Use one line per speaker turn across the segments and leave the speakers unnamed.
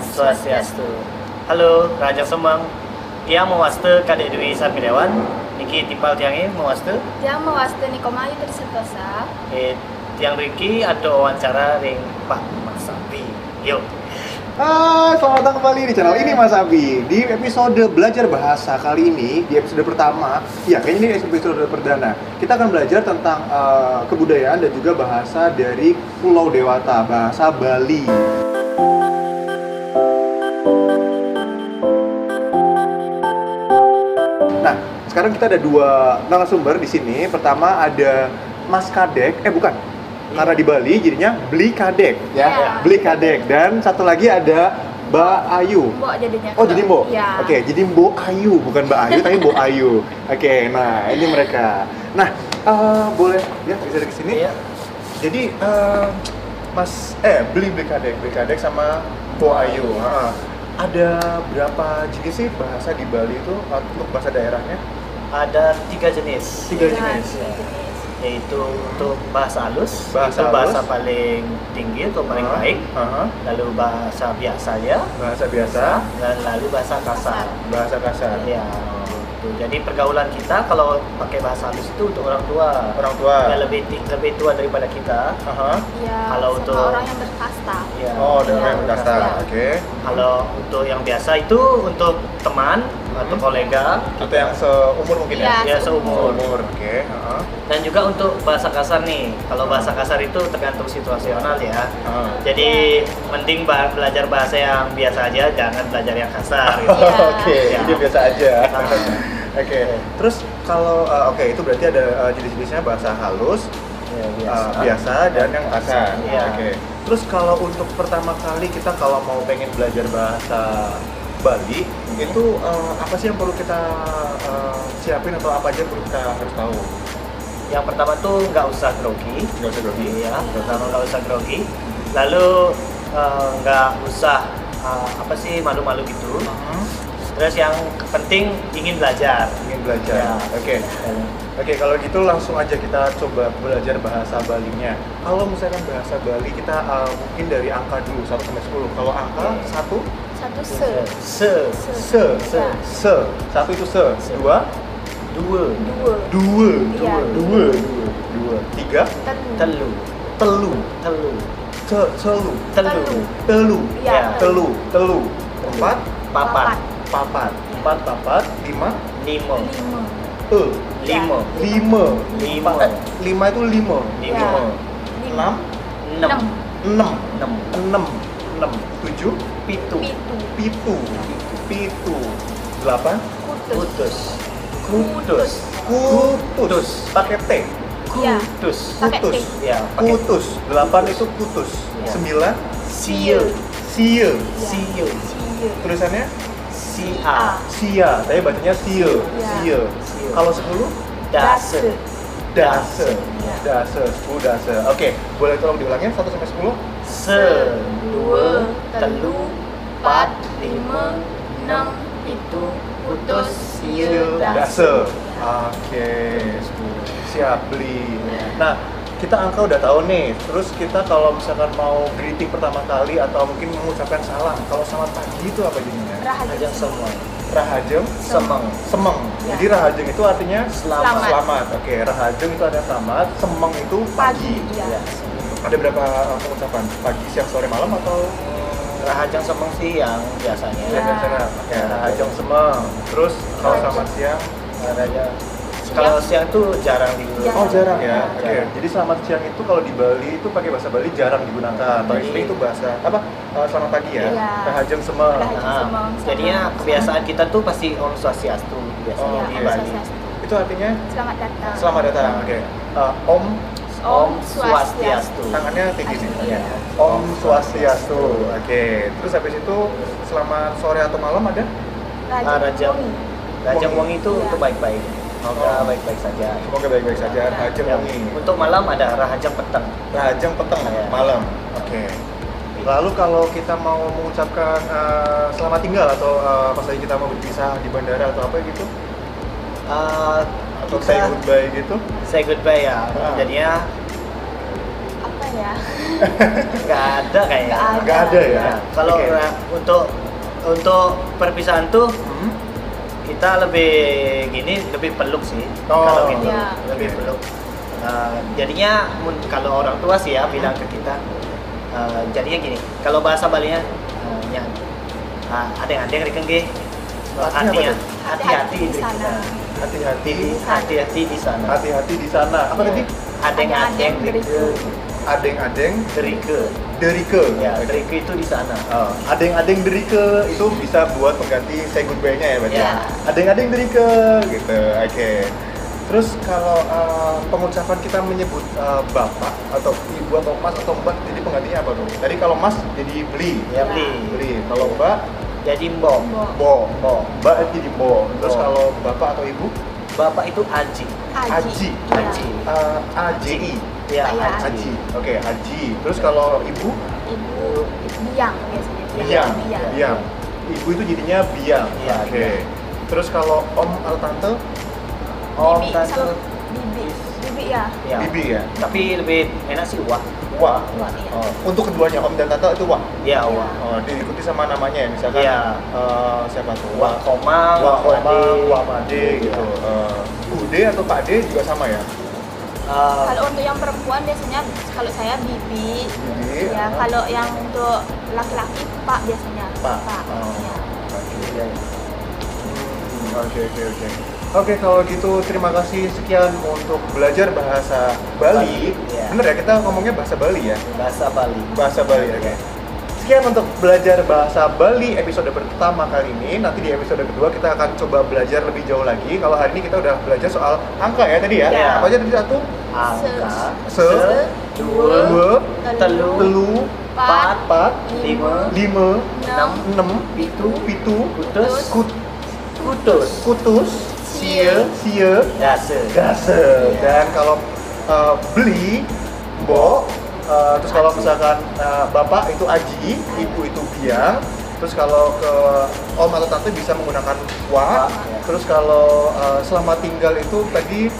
Swastiastu. Halo, Raja Semang. Dia mewaste Kadek Dwi Sarmidewan, Niki Tipal Tiangi mewaste.
Dia mewaste Nikomayu dari Sentosa.
Eh, Tiang Riki ada wawancara ring Pak Mas Abi. Yuk.
Hai, selamat datang kembali di channel ini Mas Abi. Di episode belajar bahasa kali ini, di episode pertama, ya kayaknya ini episode perdana. Kita akan belajar tentang eh, kebudayaan dan juga bahasa dari Pulau Dewata, bahasa Bali. Nah, sekarang kita ada dua narasumber di sini. Pertama ada Mas Kadek, eh bukan, karena di Bali jadinya Beli Kadek, ya,
Iya.
Beli Kadek. Dan satu lagi ada Mbak Ayu.
Mbok jadinya.
Oh, jadi Mbok?
Iya.
Oke, jadi Mbok Ayu, bukan Mbak Ayu, tapi Mbok Ayu. Oke, nah ini mereka. Nah, eh, boleh ya bisa dari sini.
Iya.
Jadi eh, Mas eh beli beli kadek, beli kadek sama Mbok Ayu. Ha. Ada berapa jenis sih bahasa di Bali itu untuk bahasa daerahnya?
Ada tiga jenis.
Tiga
Iya,
jenis. ya.
tiga jenis.
Yaitu untuk bahasa halus,
Bahasa
itu bahasa
halus. Ah.
paling tinggi atau paling
Ha,
baik.
ha, ha.
Lalu bahasa biasa ya.
Bahasa biasa,
Dan lalu bahasa kasar.
bahasa kasar.
Iya. gitu. Jadi pergaulan kita kalau pakai bahasa halus itu untuk orang tua.
Orang tua.
yang lebih ti- lebih tua daripada kita.
Ha, ha.
Iya.
Kalau
sama
untuk-
orang yang berkasta.
Ya.
Oh, ada orang yang
Iya,
berkasta.
iya.
Oke.
Kalau untuk yang biasa itu untuk teman atau
Hmm.
kolega
Atau yang seumur mungkin ya?
Iya,
ya seumur.
Umur, oke. heeh.
Dan juga untuk bahasa kasar nih. Kalau bahasa kasar itu tergantung situasional ya.
Heeh.
Jadi mending ba- belajar bahasa yang biasa aja, jangan belajar yang kasar gitu.
Iya.
Oke,
Iya.
dia biasa aja.
Nah,
Oke, terus kalau uh, oke itu berarti ada uh, jenis-jenisnya bahasa halus,
ya,
uh, biasa dan yang kasar.
Iya.
Oke. Terus kalau untuk pertama kali kita kalau mau pengen belajar bahasa Bali itu uh, apa sih yang perlu kita uh, siapin atau apa aja yang perlu kita harus tahu?
Yang pertama tuh nggak usah grogi.
Nggak usah grogi.
Iya, pertama nggak usah grogi. Lalu eh, nggak usah eh, apa sih malu-malu gitu. Terus yang penting ingin belajar.
Ingin belajar.
Iya.
Oke. Oke, kalau gitu langsung aja kita coba belajar bahasa Balinya. Kalau misalkan bahasa Bali kita uh, mungkin dari angka dulu 1 sampai 10. Kalau angka
Oke.
1
Iya.
Satu se.
Se,
se,
Se.
se. 1 itu se,
Se.
2 2
dua,
Dua.
2
Iya.
3
Telu.
telu,
telu,
telu,
te, telu,
telu,
telu,
Iya.
Ya.
telu, telu. 4
papat,
Papat.
papat, 4 papat, 5
limo,
Lima.
e.
Iya.
limo,
5
Lima.
5 itu 5.
Lima.
6
Ya. enam,
Enam.
6
enam,
6 6 7
pitu,
Pitu.
pitu pitu 8
Kutus.
kutus,
Kutus.
kutus,
kutus pakai T
Iya.
kutus,
Pakai T.
kutus
ya, pakai
kutus 8 itu kutus
Iya.
9
siu,
sia
siu,
Iya. Cie.
tulisannya
sia,
sia tapi bacanya sia
Iya.
sia
Sia.
kalau 10
dase,
dase
Iya.
dase 10 dase oke boleh tolong diulangin 1 sampai 10
se, dua, telu,
empat, lima, enam, pitu, putus, siu,
Dase.
dase.
Oke, siap beli. Nah, kita angka udah tahu nih. Terus kita kalau misalkan mau greeting pertama kali atau mungkin mengucapkan salam, kalau selamat pagi itu apa jadinya?
Rahayu.
ajak semua,
Rahajeng,
semang,
semeng.
Ya.
Jadi rahajeng itu artinya
selamat,
Selamat.
Oke, rahajeng itu ada selamat, semeng itu
Pagi.
pagi.
Iya.
Ada berapa uh, pengucapan? Pagi, siang, sore, malam atau
Rahajang semang sih yang biasanya.
Iya.
Ya, ya rahajeng semeng. Terus kalau
Rahajeng.
selamat siang
Rahajang.
Iya,
Kalau siang tuh jarang digunakan.
Oh jarang ya.
Jarang.
Oke. Jadi selamat siang itu kalau di Bali itu pakai bahasa Bali jarang digunakan. Paling
Jadi-
sering itu bahasa apa? eh, selamat pagi ya.
Iya.
Rahajeng semang.
Rahajeng.
Nah,
Semang,
jadinya
semang.
kebiasaan kita tuh pasti Om Swastiastu biasanya
Oh,
di
iya.
Bali.
Itu artinya
Selamat datang.
selamat datang. Oke. Eh, om
Om Swastiastu.
tangannya tinggi sih.
Iya.
Om Swastiastu. Oke. Terus habis itu selamat sore atau malam ada?
Ah, Raja.
Bumi.
Rajang Wong itu
Iya.
untuk baik-baik. Semoga
Oh.
baik-baik saja.
Semoga baik-baik saja. Rahajeng
Ya,
wengi.
Untuk malam ada Rahajang Petang.
Rahajeng petang
Iya.
malam. Oke. Lalu kalau kita mau mengucapkan eh, selamat tinggal atau eh, pas lagi kita mau berpisah di bandara atau apa gitu
Eh,
atau say
kita
goodbye gitu.
say goodbye ya.
Ah, Ah.
Jadinya
Apa ya? ya.
nggak ada kayaknya
Nggak
Nggak ada ya?
Nah, kalau
Oke.
ra- untuk untuk perpisahan tuh
Hmm?
kita lebih gini lebih peluk sih
Oh.
kalau gitu
Ya.
lebih peluk Uh, jadinya mun- kalau orang tua sih ya bilang ke kita uh, jadinya gini kalau bahasa Balinya uh, yang ada yang ada yang
Artinya apa
hati
tuh?
hati-hati
Hati-hati di
di
sana.
sana
Hati-hati,
Hmm? hati-hati di sana
hati-hati di sana. Apa tadi?
ada yang ada yang
beriku.
Adeng-adeng
derike
derike.
ya
Oke.
derike itu di sana
Ah, adeng-adeng derike itu bisa buat pengganti say goodbye-nya ya berarti.
Iya.
Adeng-adeng derike gitu. Oke. Terus kalau eh, pengucapan kita menyebut eh, bapak atau ibu atau mas atau mbak jadi penggantinya apa tuh? Tadi kalau mas jadi beli,
ya
Ya.
beli
beli. Kalau mbak
jadi mbok
Mbok.
bo,
Bo.
mbak jadi bo. Terus
Bo.
kalau bapak atau ibu
bapak itu aji
Aji.
Iya.
aji
eh, AJI.
ya
Iya,
aji
Haji, oke Haji. Terus kalau ibu
Ibu biang biasanya.
biang,
Biang.
biang. Ibu itu jadinya biang.
Iya,
oke.
biang.
Terus kalau om atau tante,
om
Bibi,
tante
sama bibi. Bibi ya.
ya
bibi ya.
tapi lebih enak sih wah
Wah.
Wah, iya.
Oh, Untuk keduanya om dan tante itu wah.
ya wah
Oh, diikuti sama namanya ya, misalkan
Iya.
eh, siapa tuh?
wah komang
Wah Oma,
Ade.
Wah Made gitu.
Iya.
Eh, Bu D atau Pak D juga sama ya?
Eh,
Kalau untuk yang perempuan biasanya kalau saya bibi.
Bibi.
Ya,
ah.
kalau yang untuk laki-laki pak biasanya.
Pak. Oh.
Iya.
iya, iya.
Hmm, Oke oke oke. Oke kalau gitu terima kasih sekian untuk belajar bahasa Bali.
Bali, iya.
Bener ya kita ngomongnya bahasa Bali ya.
Eh, bahasa Bali
Bahasa Bali oke. Sekian untuk belajar bahasa Bali episode pertama kali ini. Nanti di episode kedua kita akan coba belajar lebih jauh lagi. Kalau hari ini kita udah belajar soal angka ya tadi ya.
Iya.
Apa aja tadi satu?
angka
Se-
dua
Dua,
telu
telu,
Empat.
empat,
lima
lima,
Enam.
enam,
Pitu.
pitu,
kutus
kut,
kutus
kutus,
Sia.
sia,
dase
Gase.
Iya.
eh, Dan kalau uh, beli bo, uh, terus kalau misalkan uh, bapak itu aji, ibu itu biang. Terus kalau ke om atau tante bisa menggunakan wa.
Wa, iya.
Terus kalau uh, selamat tinggal itu tadi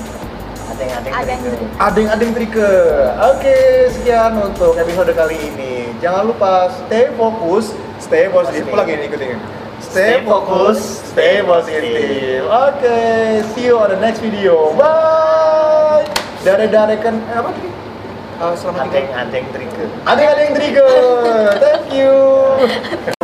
adeng-adeng
Adeng
derike.
derike.
adeng-adeng trike. Oke, sekian untuk episode kali ini. Jangan lupa stay fokus, stay positif. Aku lagi ikutin. Stay
Stay
fokus,
fokus,
stay
stay
positif. Oke, see you on the next video. Bye. Dare-dare kan eh, apa tadi? Eh, selamat tinggal.
adeng-adeng derike.
Adeng-adeng trike. Thank you.